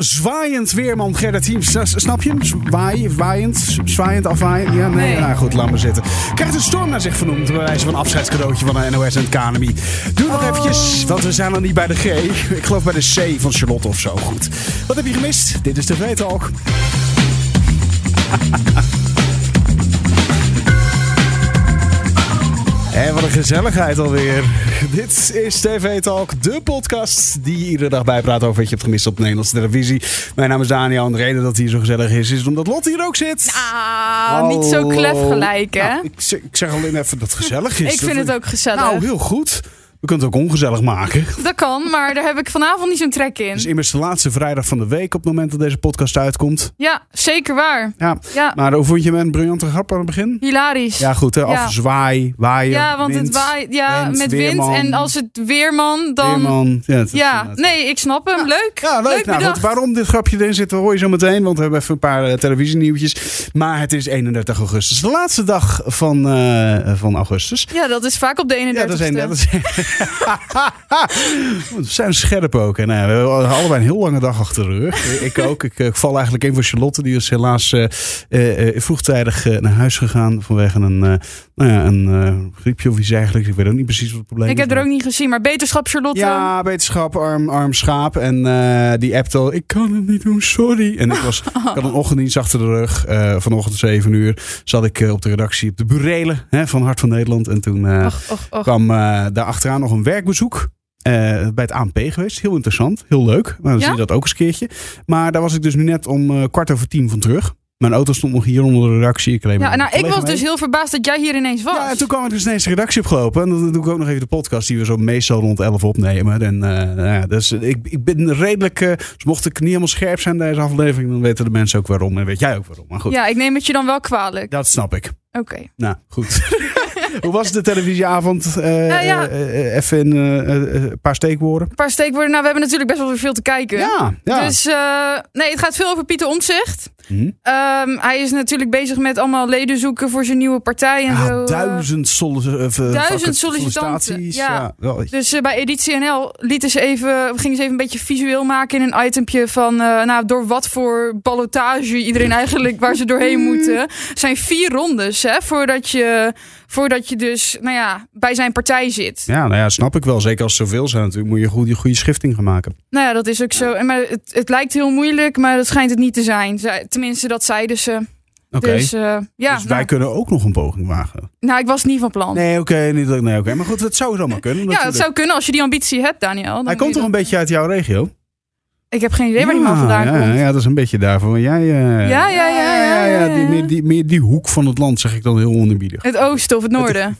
Afzwaaiend weerman Gerrit Hiemstra. Snap je hem? Zwaai, waaiend, zwaaiend, afwaaiend. Ja, nee. Nee. Nou goed, laat maar zitten. Krijgt een storm naar zich vernoemd. Bij wijze van een afscheidscadeautje van de NOS en het KNMI. Doe nog eventjes, want we zijn nog niet bij de G. Ik geloof bij de C van Charlotte of zo. Goed. Wat heb je gemist? Dit is TV Talk. En wat een gezelligheid alweer. Dit is TV Talk, de podcast die je iedere dag bijpraat over wat je hebt gemist op de Nederlandse televisie. Mijn naam is Daniel en de reden dat hij hier zo gezellig is, is omdat Lotte hier ook zit. Ah, niet zo klef gelijk, hè? Oh. Nou, ik, zeg- ik zeg alleen even dat het gezellig is. ik vind het ook gezellig. Nou, heel goed. We kunnen het ook ongezellig maken. Het dat kan, maar daar heb ik vanavond niet zo'n trek in. is immers de laatste vrijdag van de week op het moment dat deze podcast uitkomt. Ja, zeker waar. Ja, Ja, maar hoe vond je mijn briljante grap aan het begin? hilarisch. Ja, goed hè. Ja. Afzwaai, waaien, Ja, want het wind, waait ja, wind, met wind. weerman. En als het weerman, dan... weerman. Ja, het is Ja, inderdaad- nee, ik snap hem. Leuk. Ja, leuk. nou, bedacht. want waarom dit grapje erin zit, hoor je zo meteen. Want we hebben even een paar eh, televisienieuwtjes. Maar het is 31 augustus. De laatste dag van, eh, van augustus. Ja, dat is vaak op de 31ste. Ja, dat is 31. We zijn scherp ook. En, eh, we hebben allebei een heel lange dag achter de rug. Ik ook. Ik, eh, val eigenlijk in voor Charlotte. Die is helaas eh, eh, eh, vroegtijdig eh, naar huis gegaan. Vanwege een, eh, nou ja, een eh, griepje of iets eigenlijk. Ik weet ook niet precies wat het probleem Ik is. heb er maar- ook niet gezien, maar beterschap Charlotte. ja, wetenschap, arm, arm schaap. En eh, die appte al, ik kan het niet doen, sorry. En ik, was, ik had een ochtenddienst achter de rug. Eh, vanochtend 7 uur zat ik eh, op de redactie op de Burelen hè, van Hart van Nederland. En toen eh, Och, och, och. kwam eh daarachteraan nog een werkbezoek. eh, bij het ANP geweest. Heel interessant, heel leuk. Nou, dan zie Ja? je dat ook eens een keertje. Maar daar was ik dus nu net om eh, kwart over tien van terug. Mijn auto stond nog hier onder de redactie. Ik, Ja, nou, ik was dus heel verbaasd dat jij hier ineens was. ja, en toen kwam ik dus ineens de redactie opgelopen. En dan doe ik ook nog even de podcast die we zo meestal rond 11 opnemen. En eh, nou ja, dus ik, ik ben redelijk... eh, dus mocht ik niet helemaal scherp zijn deze aflevering, dan weten de mensen ook waarom. En weet jij ook waarom. Maar goed, Ja, ik neem het je dan wel kwalijk. dat snap ik. Oké. Nou, goed. Hoe was de televisieavond? Eh, Nou ja. eh, eh, even in eh, eh, een paar steekwoorden. Een paar steekwoorden. Nou, we hebben natuurlijk best wel weer veel te kijken. Ja, ja. Dus eh, nee, het gaat veel over Pieter Omtzigt. Mhm. Ehm, hij is natuurlijk bezig met allemaal leden zoeken voor zijn nieuwe partij en Ja, zo. eh. duizend, solli- eh, v- vakken- sollicitanten, sollicitaties. ja. Ja, wel, Dus eh, bij Editie NL lieten ze even, gingen ze even een beetje visueel maken in een itempje van eh, nou, door wat voor ballotage iedereen eigenlijk waar ze doorheen Mm. moeten. Het zijn vier rondes hè, voordat, je, voordat je dus nou ja, bij zijn partij zit. ja, nou ja, snap ik wel. Zeker als er zoveel zijn natuurlijk, moet je goed, een goede schifting gaan maken. Nou ja, dat is ook zo. En, maar het, het lijkt heel moeilijk, maar dat schijnt het niet te zijn. Zij- tenminste, dat zeiden ze. Oké. Dus eh, ja, dus wij nou, kunnen ook nog een poging wagen. nou, ik was niet van plan. Nee, oké. niet dat- nee, oké. Maar goed, dat zou zomaar kunnen. ja, dat natuurlijk. zou kunnen als je die ambitie hebt, Daniel. Dan Hij moet je komt toch dat- een beetje uit jouw regio? Ik heb geen idee waar die man vandaan ja, komt. Ja, dat is een beetje daarvan. Want jij, eh, Ja, ja, ja, ja, ja. die, meer, die, meer die hoek van het land zeg ik dan heel onherbiedig. Het oosten of het noorden.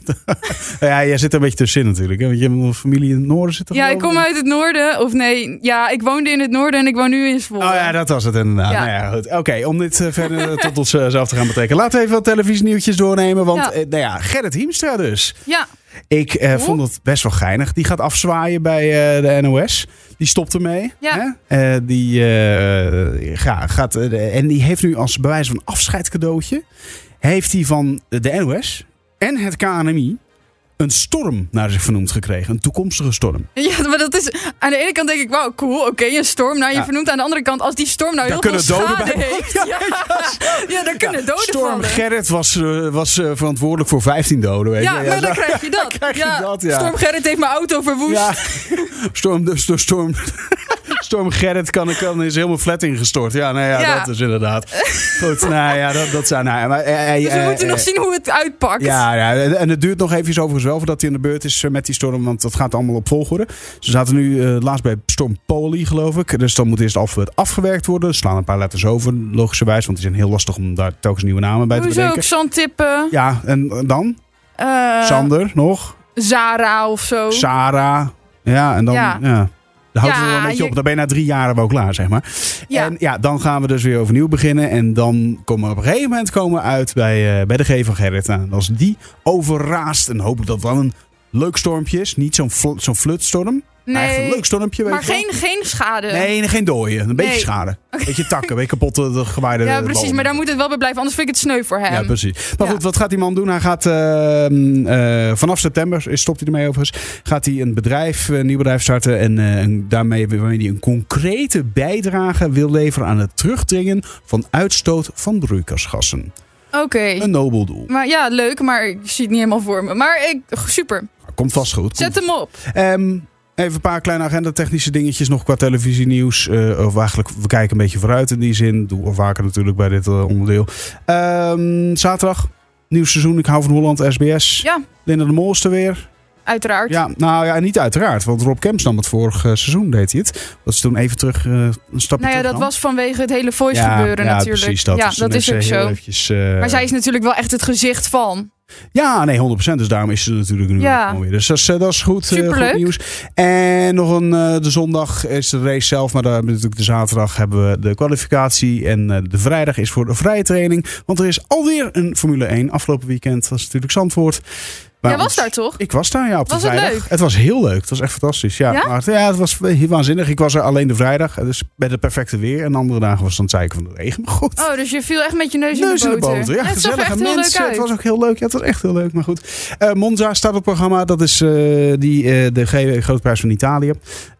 Ja, jij zit er een beetje tussenin natuurlijk. Hè? Want je hebt een familie in het noorden zitten. Ja, ik geloof kom uit het noorden. Of nee, ja, ik woonde in het noorden en ik woon nu in Zwolle. Oh ja, dat was het inderdaad. Ja. Nou ja, goed. Oké, om dit eh, verder tot onszelf te gaan betrekken. Laten we even wat televisienieuwtjes doornemen. Want Ja. eh, nou ja, Gerrit Hiemstra dus. Ja, Ik eh, Hoe? vond het best wel geinig. Die gaat afzwaaien bij eh, de NOS. Die stopt ermee. Ja. Hè? Eh, die, eh, ja, gaat, eh, de- en die heeft nu als bewijs van afscheidcadeautje... heeft hij van de NOS en het KNMI... een storm naar zich vernoemd gekregen. Een toekomstige storm. ja, maar dat is. Aan de ene kant denk ik, wauw, cool, oké, een storm. Nou, je Ja. vernoemt aan de andere kant, als die storm nou Daar heel veel kunnen doden schade bij- heeft. Ja, ja, daar kunnen doden storm vallen. Gerrit was, eh, was eh, verantwoordelijk voor 15 doden. Weet Ja, je? maar zo- dan krijg je dat. krijg je dat, ja. Storm Gerrit heeft mijn auto verwoest. Dus Ja, storm, dus door storm, storm Gerrit kan, kan, is helemaal flat ingestort. Ja, nou ja, Ja. dat is inderdaad. Goed, nou ja, dat, dat zijn... Nou, ja, maar, eh, eh, Dus we eh, moeten eh, nog zien hoe het uitpakt. Ja, ja, en- en het duurt nog eventjes overigens wel voordat hij in de beurt is eh, met die storm, want dat gaat allemaal op volgorde. Ze zaten nu eh, laatst bij storm Poli, geloof ik. Dus dan moet eerst af, afgewerkt worden. Slaan een paar letters over, logischerwijs, want die zijn heel lastig om daar telkens nieuwe namen bij te Hoezo ook bedenken. zandtippen? Ja, en eh, dan? Eh, Sander nog? Zara of zo. Sarah. Ja, en dan. Ja. Ja. Dan houdt het Ja, wel een beetje je- op. Dan ben je na drie jaar hebben we ook klaar, zeg maar. Ja. En ja, dan gaan we dus weer overnieuw beginnen. En dan komen we op een gegeven moment komen we uit bij, eh, bij de G van Gerrit. Nou, en als die overraast, en hoop ik dat het dan een leuk stormpje is. Niet zo'n fl- zo'n flutstorm. Eigenlijk een leuk stormpje, weet maar je wel. geen, geen schade. Nee, geen dooien. Een beetje Nee. schade. Een beetje takken, een beetje kapotte de gewaaide ja, precies. bomen. Maar daar moet het wel bij blijven. Anders vind ik het sneu voor hem. Ja, precies. Maar Ehm, Ja. goed, wat gaat die man doen? Hij gaat eh, eh, vanaf september, is- stopt hij ermee overigens, gaat hij een bedrijf, een nieuw bedrijf starten. En eh, en daarmee waarmee hij een concrete bijdrage wil leveren aan het terugdringen van uitstoot van broeikasgassen. Oké. Een nobel doel. Maar ja, leuk. Maar ik zie het niet helemaal voor me. Maar ik, super. Komt vast goed. Komt Zet hem op. Ehm, even een paar kleine agendatechnische dingetjes nog qua televisienieuws. Eh, of eigenlijk, we kijken een beetje vooruit in die zin. Doe al vaker natuurlijk bij dit eh, onderdeel. Ehm, zaterdag, nieuw seizoen. Ik hou van Holland, SBS. Ja. Linda de Mol is er weer. Uiteraard. Ja, nou ja, niet uiteraard. Want Rob Kemps nam het vorig eh, seizoen, deed hij het. Dat ze toen even terug eh, een stapje nou ja, terug dat nam. was vanwege het hele voice gebeuren ja, natuurlijk. precies dat. Ja, Dus toen dat is ook heeft ze heel zo. eventjes, eh, Maar zij is natuurlijk wel echt het gezicht van. Ja, nee, 100%. Dus daarom is ze natuurlijk nu Ja. ook gewoon weer. Dus dat is, eh, dat is goed, eh, Superleuk. goed nieuws. En nog een, eh, de zondag is de race zelf. Maar daar hebben we natuurlijk de zaterdag hebben we de kwalificatie. En eh, de vrijdag is voor de vrije training. Want er is alweer een Formule 1. Afgelopen weekend was natuurlijk Zandvoort. Maar Jij was ons- daar toch? Ik was daar, ja, op de Was het vrijdag. leuk? was heel leuk. Het was echt fantastisch. Ja, Ja? Maar het, ja, het was heel waanzinnig. Ik was er alleen de vrijdag. Dus met het perfecte weer. En de andere dagen was het dan het zeiken van de regen. Maar goed. Oh, dus je viel echt met je neus, Neus in de boter. Ja, het zag er gezellige echt heel leuk mensen. uit. Het was ook heel leuk. Ja, het was echt heel leuk. Maar goed. Eh, Monza staat op het programma. Dat is eh, die, eh, de G- grote prijs van Italië.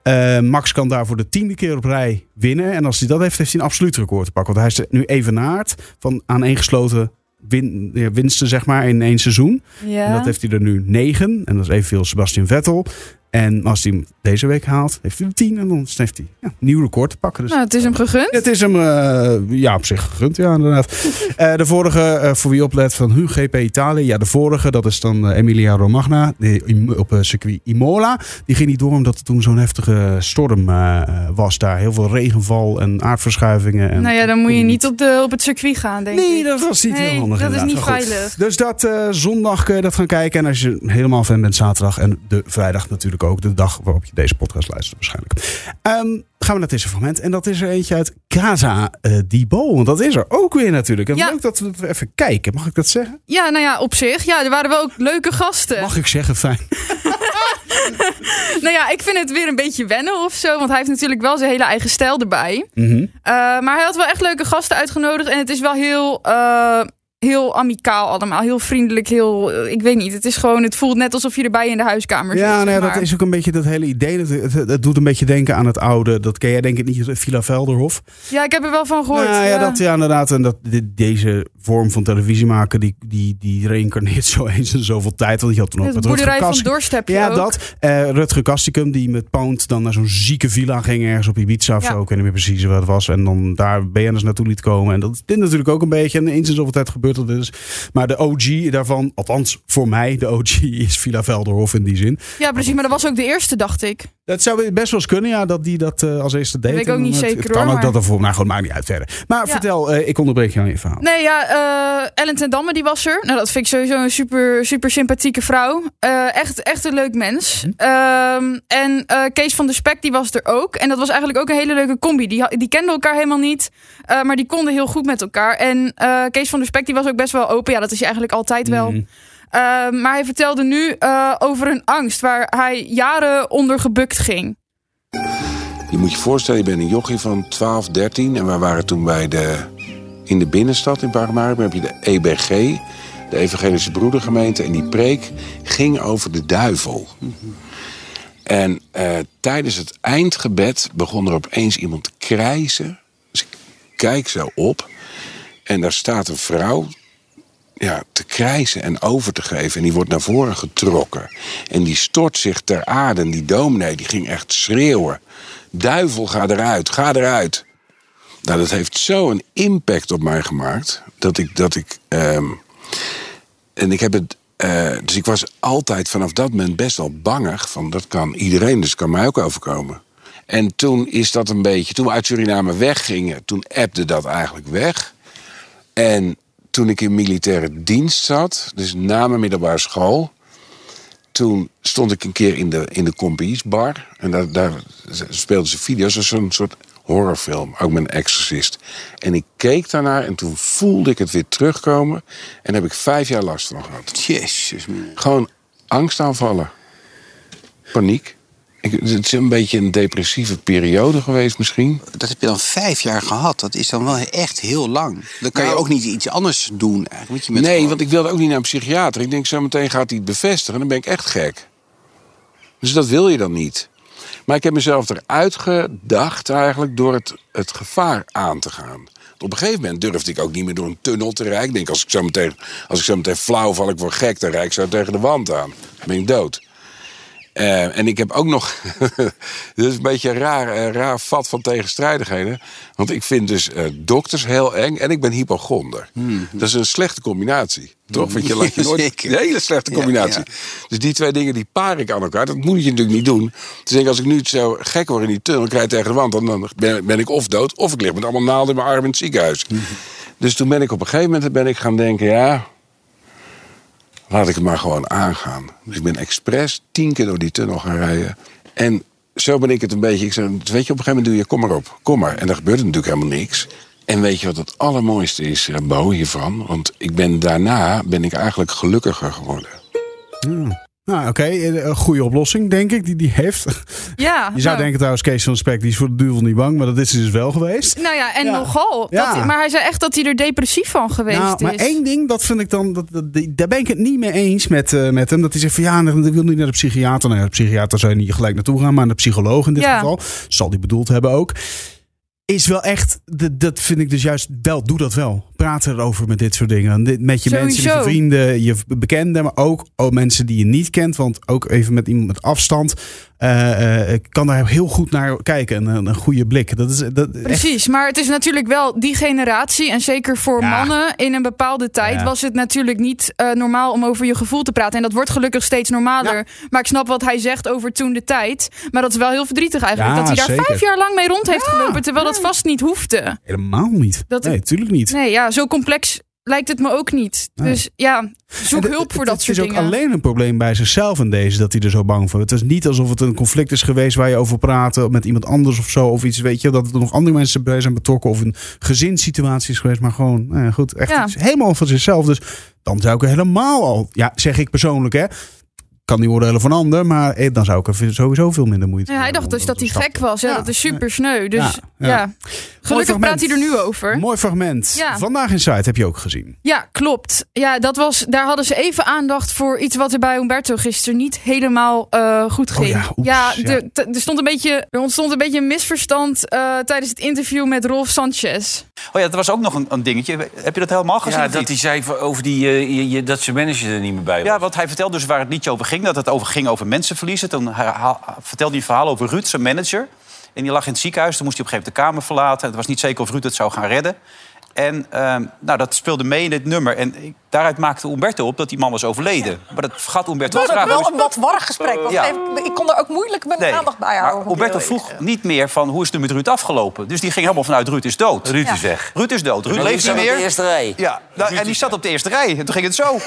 Eh, Max kan daar voor de tiende keer op rij winnen. En als hij dat heeft, heeft hij een absoluut record te pakken. Want hij is nu evenaard van aaneengesloten win, ja, winsten zeg maar, in één seizoen. En Ja. dat heeft hij er nu negen. En dat is evenveel als Sebastian Vettel. En als hij hem deze week haalt, heeft hij er tien. En dan heeft hij ja, een nieuw record te pakken. Dus Nou, het is hem gegund. het is hem eh, ja, op zich gegund, ja, inderdaad. Eh, de vorige, eh, voor wie oplet, van Hu GP Italië. Ja, de vorige, dat is dan eh, Emilia Romagna die im- op eh, circuit Imola. Die ging niet door omdat er toen zo'n heftige storm eh, eh, was daar. Heel veel regenval en aardverschuivingen. En nou ja, dan kon moet je die niet op, de, op het circuit gaan, denk ik. Nee, dat was niet Nee, heel handig dat is inderdaad. niet Maar goed. veilig. Dus dat eh, zondag kun je dat gaan kijken. En als je helemaal fan bent, zaterdag en de vrijdag natuurlijk ook. De dag waarop je deze podcast luistert waarschijnlijk. Ehm, gaan we naar het fragment. En dat is er eentje uit Casa eh di Bo. Want dat is er ook weer natuurlijk. En Ja. leuk dat we dat even kijken. Mag ik dat zeggen? Ja, nou ja, op zich. Ja, er waren wel ook leuke gasten. Mag ik zeggen, fijn. Nou ja, ik vind het weer een beetje wennen of zo. Want hij heeft natuurlijk wel zijn hele eigen stijl erbij. Mhm. Eh, maar hij had wel echt leuke gasten uitgenodigd. En het is wel heel, eh, heel amicaal allemaal. Heel vriendelijk, heel... eh, ik weet niet. Het is gewoon... Het voelt net alsof je erbij in de huiskamer zit. Ja, zeg nou ja, dat maar. is ook een beetje dat hele idee. Dat, het, het doet een beetje denken aan het oude. Dat ken jij denk ik niet, Villa Velderhof. ja, ik heb er wel van gehoord. Nou ja, dat ja, inderdaad. En dat dit- deze vorm van televisie maken, die, die, die reïncarneert zo eens in zoveel tijd. Want je had toen ook Het met boerderij Rutger van Kastikum. Dorst heb je Ja, ook. dat. Eh Rutger Kastikum, die met Pound dan naar zo'n zieke villa ging ergens op Ibiza of Ja. zo. Ik weet niet meer precies wat het was. En dan daar BN'ers naartoe liet komen. En dat is dit natuurlijk ook een beetje. En eens in zoveel tijd gebeurt dat dus. Maar de OG daarvan, althans voor mij, de OG is Villa Velderhof in die zin. Ja, precies. Maar dat was ook de eerste, dacht ik. Dat zou best wel eens kunnen, ja, dat die dat eh, als eerste deed. weet ik ook niet het, zeker, Het kan hoor, ook maar- dat er voor... Nou goed, maakt niet uit verder. Maar Ja. vertel, eh, ik onderbreek jou aan je verhaal. Nee, ja, eh, Ellen ten Damme die was er. Nou, dat vind ik sowieso een super, super sympathieke vrouw. Eh, echt, echt een leuk mens. Mhm. Ehm, en eh, Kees van der Spek die was er ook. En dat was eigenlijk ook een hele leuke combi. Die, ha- die kenden elkaar helemaal niet, eh, maar die konden heel goed met elkaar. En eh, Kees van der Spek die was ook best wel open. Ja, dat is je eigenlijk altijd wel. Mm. Ehm, maar hij vertelde nu eh, over een angst waar hij jaren onder gebukt ging. Je moet je voorstellen, je bent een jochie van 12, 13. En wij waren toen bij de, in de binnenstad in Paramaribo. heb je de EBG, de Evangelische Broedergemeente. En die preek ging over de duivel. En eh, tijdens het eindgebed begon er opeens iemand te krijzen. Dus ik kijk zo op. En daar staat een vrouw ja, te krijsen en over te geven. En die wordt naar voren getrokken. En die stort zich ter aarde. En die dominee die ging echt schreeuwen. Duivel, ga eruit, ga eruit. Nou, dat heeft zo'n impact op mij gemaakt. Dat ik, dat ik ehm, en ik heb het. eh, dus ik was altijd vanaf dat moment best wel bangig. Van dat kan iedereen, dus het kan mij ook overkomen. En toen is dat een beetje. Toen we uit Suriname weggingen, toen ebde dat eigenlijk weg. En toen ik in militaire dienst zat, dus na mijn middelbare school. Toen stond ik een keer in de, in de compagniesbar. En daar, daar speelden ze video's. Dat is een soort horrorfilm. Ook met een exorcist. En ik keek daarnaar en toen voelde ik het weer terugkomen. En daar heb ik vijf jaar last van gehad. Jezus, man. Gewoon angstaanvallen. Paniek. Ik, het is een beetje een depressieve periode geweest misschien. Dat heb je dan vijf jaar gehad. Dat is dan wel echt heel lang. Dan kan je Nou- ook niet iets anders doen eigenlijk. Want je bent nee, gewoon- want ik wilde ook niet naar een psychiater. Ik denk, zo meteen gaat hij het bevestigen. Dan ben ik echt gek. Dus dat wil je dan niet. Maar ik heb mezelf eruit gedacht eigenlijk door het, het gevaar aan te gaan. Want Op een gegeven moment durfde ik ook niet meer door een tunnel te rijden. Ik denk, als ik zo meteen, als ik zo meteen flauw val, ik word gek, dan rijd ik zo tegen de wand aan. Dan ben ik dood. Eh, en ik heb ook nog. dit is een beetje een raar, eh, raar vat van tegenstrijdigheden. Want ik vind dus eh, dokters heel eng en ik ben hypochonder. Dat is een slechte combinatie. Toch? Want je laat je nooit. Hmm. Zeker. Een hele slechte Ja, combinatie. ja. Dus die twee dingen die paar ik aan elkaar. Dat moet je natuurlijk niet doen. Dus ik denk, als ik nu zo gek word in die tunnel, krijg tegen de wand. Dan dan ben, ben ik of dood of ik lig met allemaal naalden in mijn arm in het ziekenhuis. Hmm. Dus toen ben ik op een gegeven moment ben ik gaan denken, ja, laat ik het maar gewoon aangaan. Dus ik ben expres tien keer door die tunnel gaan rijden. En zo ben ik het een beetje. Ik zei, weet je, op een gegeven moment doe je, kom maar op, kom maar. En daar gebeurde natuurlijk helemaal niks. En weet je wat het allermooiste is, eh, Bo, hiervan? Want ik ben daarna ben ik eigenlijk gelukkiger geworden. Nou, oké. eh, Een goede oplossing, denk ik, die die heeft. Ja, Je zou nou. denken trouwens, Kees van Spek, die is voor de duivel niet bang. Maar dat is hij dus wel geweest. Nou ja, en Ja. nogal. Ja. Dat, maar hij zei echt dat hij er depressief van geweest Nou, maar is. één ding, dat vind ik dan, dat, dat- die- daar ben ik het niet mee eens met, eh, met hem. Dat hij zegt van ja, ik wil niet naar de psychiater. Nou, ja, de psychiater zou je niet gelijk naartoe gaan, maar naar de psycholoog in dit Ja. geval. Zal die bedoeld hebben ook. Is wel echt, dat, dat vind ik dus juist wel, doe dat wel. Praat erover met dit soort dingen. En dit- Met je mensen, met je Sowieso. vrienden, je bekenden, maar ook oh, mensen die je niet kent. Want ook even met iemand met afstand eh, eh, ik kan daar heel goed naar kijken. En een, een goede blik. Dat is, dat, echt- Precies, maar het is natuurlijk wel die generatie. En zeker voor Ja. mannen in een bepaalde tijd Ja. was het natuurlijk niet eh, normaal om over je gevoel te praten. En dat wordt gelukkig steeds normaler. Maar ik snap wat hij zegt over toen de tijd. Maar dat is wel heel verdrietig eigenlijk. Ja, dat hij daar zeker. vijf jaar lang mee rond heeft gelopen. Terwijl dat vast niet hoefde. helemaal niet. Dat- nee, natuurlijk niet. Nee, ja, zo complex lijkt het me ook niet. Nee. Dus ja, zoek En hulp voor dat soort Het dingen. is dus ook alleen een probleem bij zichzelf in deze dat hij er zo bang voor is. Het is niet alsof het een conflict is geweest waar je over praat eh, met iemand anders of zo. Of iets, weet je, dat er nog andere mensen bij zijn betrokken. Of een gezinssituatie is geweest. Maar gewoon, nou ja, goed, echt Ja. iets helemaal van zichzelf. Dus dan zou ik er helemaal al, ja, zeg ik persoonlijk hè. Kan niet oordelen van ander, maar eh, dan zou ik er sowieso veel minder moeite Ja, mee hij dacht hebben dus om dat hij te gek snappen. was. Ja, Ja, dat is super sneu. Dus Ja, ja, ja. gelukkig fragment. praat hij er nu over. Mooi fragment. Ja. Vandaag in Site heb je ook gezien. Ja, klopt. Ja, dat was, daar hadden ze even aandacht voor iets wat er bij Umberto gisteren niet helemaal eh, goed Oh ging. ja, oeps, ja. de- te- er, stond een beetje, er ontstond een beetje een misverstand eh, tijdens het interview met Rolf Sanchez. Oh ja, dat was ook nog een, een dingetje. Heb je dat helemaal gezien? Ja, of dat niet? hij zei van- over die, eh, je- je- dat zijn manager er niet meer bij was. Ja, want hij vertelde dus waar het liedje over ging. Dat het over ging over mensen verliezen. Toen herhaal- vertelde hij een verhaal over Ruud, zijn manager. En die lag in het ziekenhuis. Toen moest hij op een gegeven moment de kamer verlaten. Het was niet zeker of Ruud het zou gaan redden. En ehm, nou, dat speelde mee in dit nummer. En ik- daaruit maakte Umberto op dat die man was overleden. Maar dat vergat Umberto Het was ook vragen. wel een wat warrig gesprek. Eh, Want Ja. hij- ik kon er ook moeilijk mijn Nee, aandacht bij maar houden. moet ik Umberto heel eerlijk vroeg niet meer van hoe is het nu met Ruud afgelopen. Dus die ging helemaal vanuit Ruud is dood. Ruud is weg. Ruud is dood. Ruud Maar leeft die niet zat op meer. de eerste rij. Ja, nou, en die zat op de eerste rij. En toen ging het zo.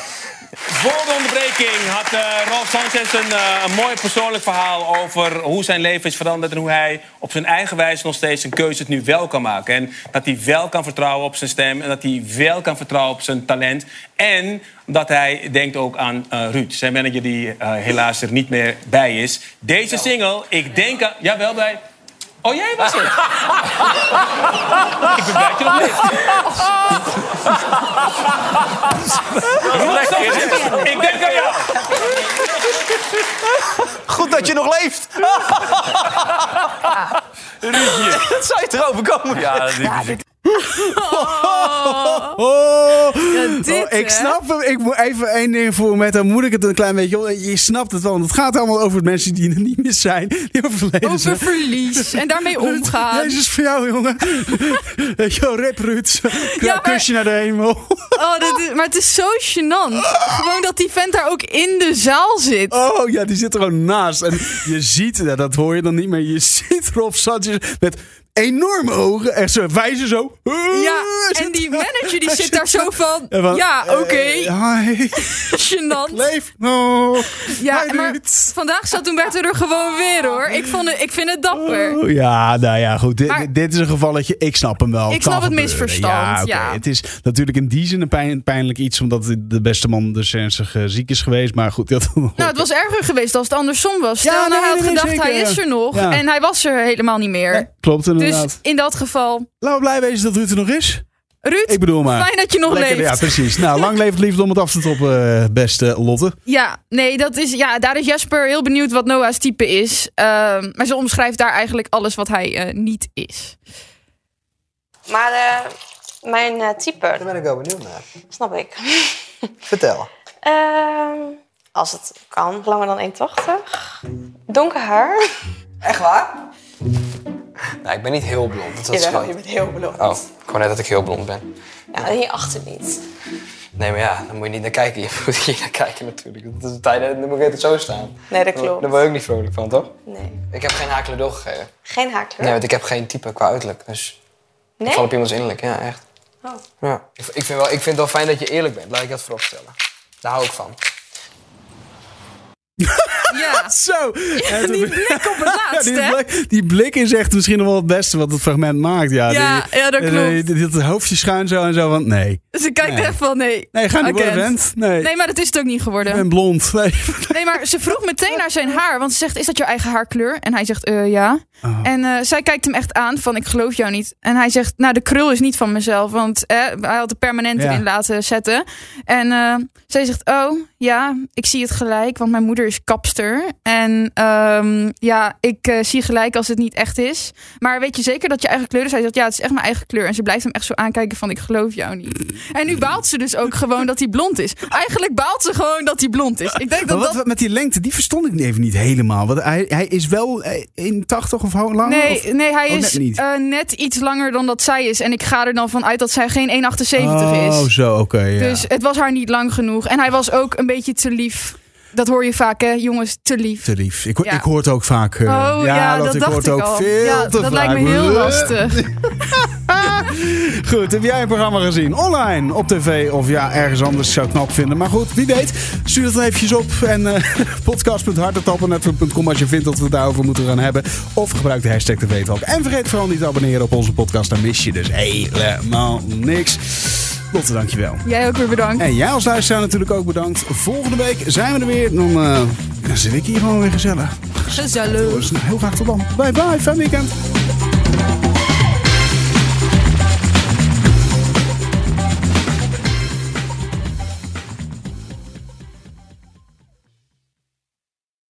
Voor de onderbreking had eh, Rolf Sanchez een, eh, een mooi persoonlijk verhaal over hoe zijn leven is veranderd en hoe hij op zijn eigen wijze nog steeds zijn keuzes nu wel kan maken. En dat hij wel kan vertrouwen op zijn stem en dat hij wel kan vertrouwen op zijn talent. En dat hij denkt ook aan eh, Ruud, zijn manager die eh, helaas er niet meer bij is. Deze single, ik denk aan. Jawel, bij. Oh, jij was het! ik ben blij dat je nog leeft. Rolf Sanchez, ik denk aan jou! Goed dat je nog leeft. Dat zou je erover komen. Ja, dit is- Oh, dit, oh, ik hè? snap hem. Ik moet even één ding voor met dan moet ik het een klein beetje. op- Je snapt het wel. Want het gaat allemaal over mensen die er niet meer zijn. Die overleden Over zijn. verlies en daarmee omgaan. Jezus voor jou, jongen. Yo, rip Ruud. Ja, Ja, maar- Kusje naar de hemel. Oh, dat is, maar het is zo gênant. Gewoon dat die vent daar ook in de zaal zit. Oh ja, die zit er gewoon naast. En je ziet, ja, dat hoor je dan niet meer. Je ziet Rob Sanchez met enorme ogen. Echt zo wijzen zo. Ja, en die manager die zit Oh, daar zo van. En van, Ja, eh, oké. hi, Gênant. leef nog. Ja, Hij maar doet. vandaag zat toen Bert er gewoon weer hoor. Ik, vond het, ik vind het dapper. Oh, ja, nou ja, goed. Dit, Maar- dit is een gevalletje. Ik snap hem wel. Ik snap Kan het gebeuren. misverstand, oké. ja. Het is natuurlijk in die zin een pijn, pijnlijk iets, omdat de beste man dus ernstig eh, ziek is geweest. Maar goed, dat Nou, het was erger geweest als het andersom was. Stel, Ja, nee, nou, hij had nee, nee, gedacht, zeker, hij is ja. er nog. Ja. En hij was er helemaal niet meer. klopt inderdaad. dus in dat geval, Laten we blij wezen dat Ruud er nog is. Ruud, Ik bedoel maar. fijn dat je nog Lekker, leeft. Ja, precies. Nou, lang leeft liefde om het af te toppen, eh, beste Lotte. Ja, nee, dat is, ja, daar is Jasper heel benieuwd wat Noah's type is. Ehm, maar ze omschrijft daar eigenlijk alles wat hij eh, niet is. Maar eh, mijn eh, type, Daar ben ik wel benieuwd naar. snap ik. Vertel. Ehm, als het kan, langer dan 1,80. Donker haar. Echt waar? Nou, ik ben niet heel blond. Dat is Jawel, gewoon... je bent heel blond. Oh, ik hoor net dat ik heel blond ben. Ja, en hierachter niet. Nee, maar ja, dan moet je niet naar kijken. Je moet hier naar kijken natuurlijk. Dat is tijden, dan moet ik het zo staan. Nee, dat Eh, Daar klopt. word je ook niet vrolijk van, toch? Nee. Ik heb geen hakelen doorgegeven. Geen Nee, haarkleur. want ik heb geen type qua uiterlijk. Dus ik Nee? val op iemands innerlijk, ja, echt. Oh. Ja. Ik, ik, vind wel, ik vind het wel fijn dat je eerlijk bent. Laat ik dat voorop stellen. Daar hou ik van. Ja, Zo. En toen- die blik op het Ja, laatst, die, hè? blik, die blik is echt misschien nog wel het beste wat het fragment maakt. Ja, Ja, die- ja, dat die- klopt. die- Dat hoofdje schuin zo en zo van, nee. Ze kijkt Nee. echt van, nee. Nee, ga niet Oké. worden, vent. Nee, Nee, maar dat is het ook niet ik geworden. ben blond. Nee. Nee, maar ze vroeg meteen naar zijn haar. Want ze zegt, is dat je eigen haarkleur? En hij zegt, eh, ja. Oh. En eh, zij kijkt hem echt aan van, ik geloof jou niet. En hij zegt, nou, de krul is niet van mezelf. Want eh, hij had de permanent Ja. erin laten zetten. En eh, zij zegt, oh, ja, ik zie het gelijk. Want mijn moeder is kapster. En ehm, ja, ik eh, zie gelijk als het niet echt is. Maar weet je zeker dat je eigen kleur is? Hij zegt, ja, het is echt mijn eigen kleur. En ze blijft hem echt zo aankijken van, ik geloof jou niet. En nu baalt ze dus ook gewoon dat hij blond is. Eigenlijk baalt ze gewoon dat hij blond is. Ik denk Maar dat wat, dat wat met die lengte, die verstond ik even niet helemaal. Want hij, hij is wel eh, 1,80 of hoe lang? Nee, nee hij Oh, is net niet. eh, net iets langer dan dat zij is. En ik ga er dan van uit dat zij geen 1,78 Oh, is. zo, oké. ja. Dus het was haar niet lang genoeg. En hij was ook een beetje te lief. Dat hoor je vaak, hè, jongens, te lief. te lief. Ik, ho- Ja. ik hoor het ook vaak. eh, Oh ja, dat, dat ik dacht hoor het ik ook al. veel ja, te dat lijkt me vaak. heel lastig. Goed, heb jij een programma gezien? Online, op tv of ja, ergens anders zou ik knap vinden. Maar goed, wie weet. Stuur het dan eventjes op. En eh podcast.hartetappennetwerk.com als je vindt dat we het daarover moeten gaan hebben. Of gebruik de hashtag de Weetalk. En vergeet vooral niet te abonneren op onze podcast. Dan mis je dus helemaal niks. Lotte, dankjewel. Jij ook weer bedankt. En jij als luisteraar natuurlijk ook bedankt. Volgende week zijn we er weer. Dan, eh, dan zit ik hier gewoon weer gezellig. Gezellig. Dus heel graag tot dan. Bye bye, fijn weekend.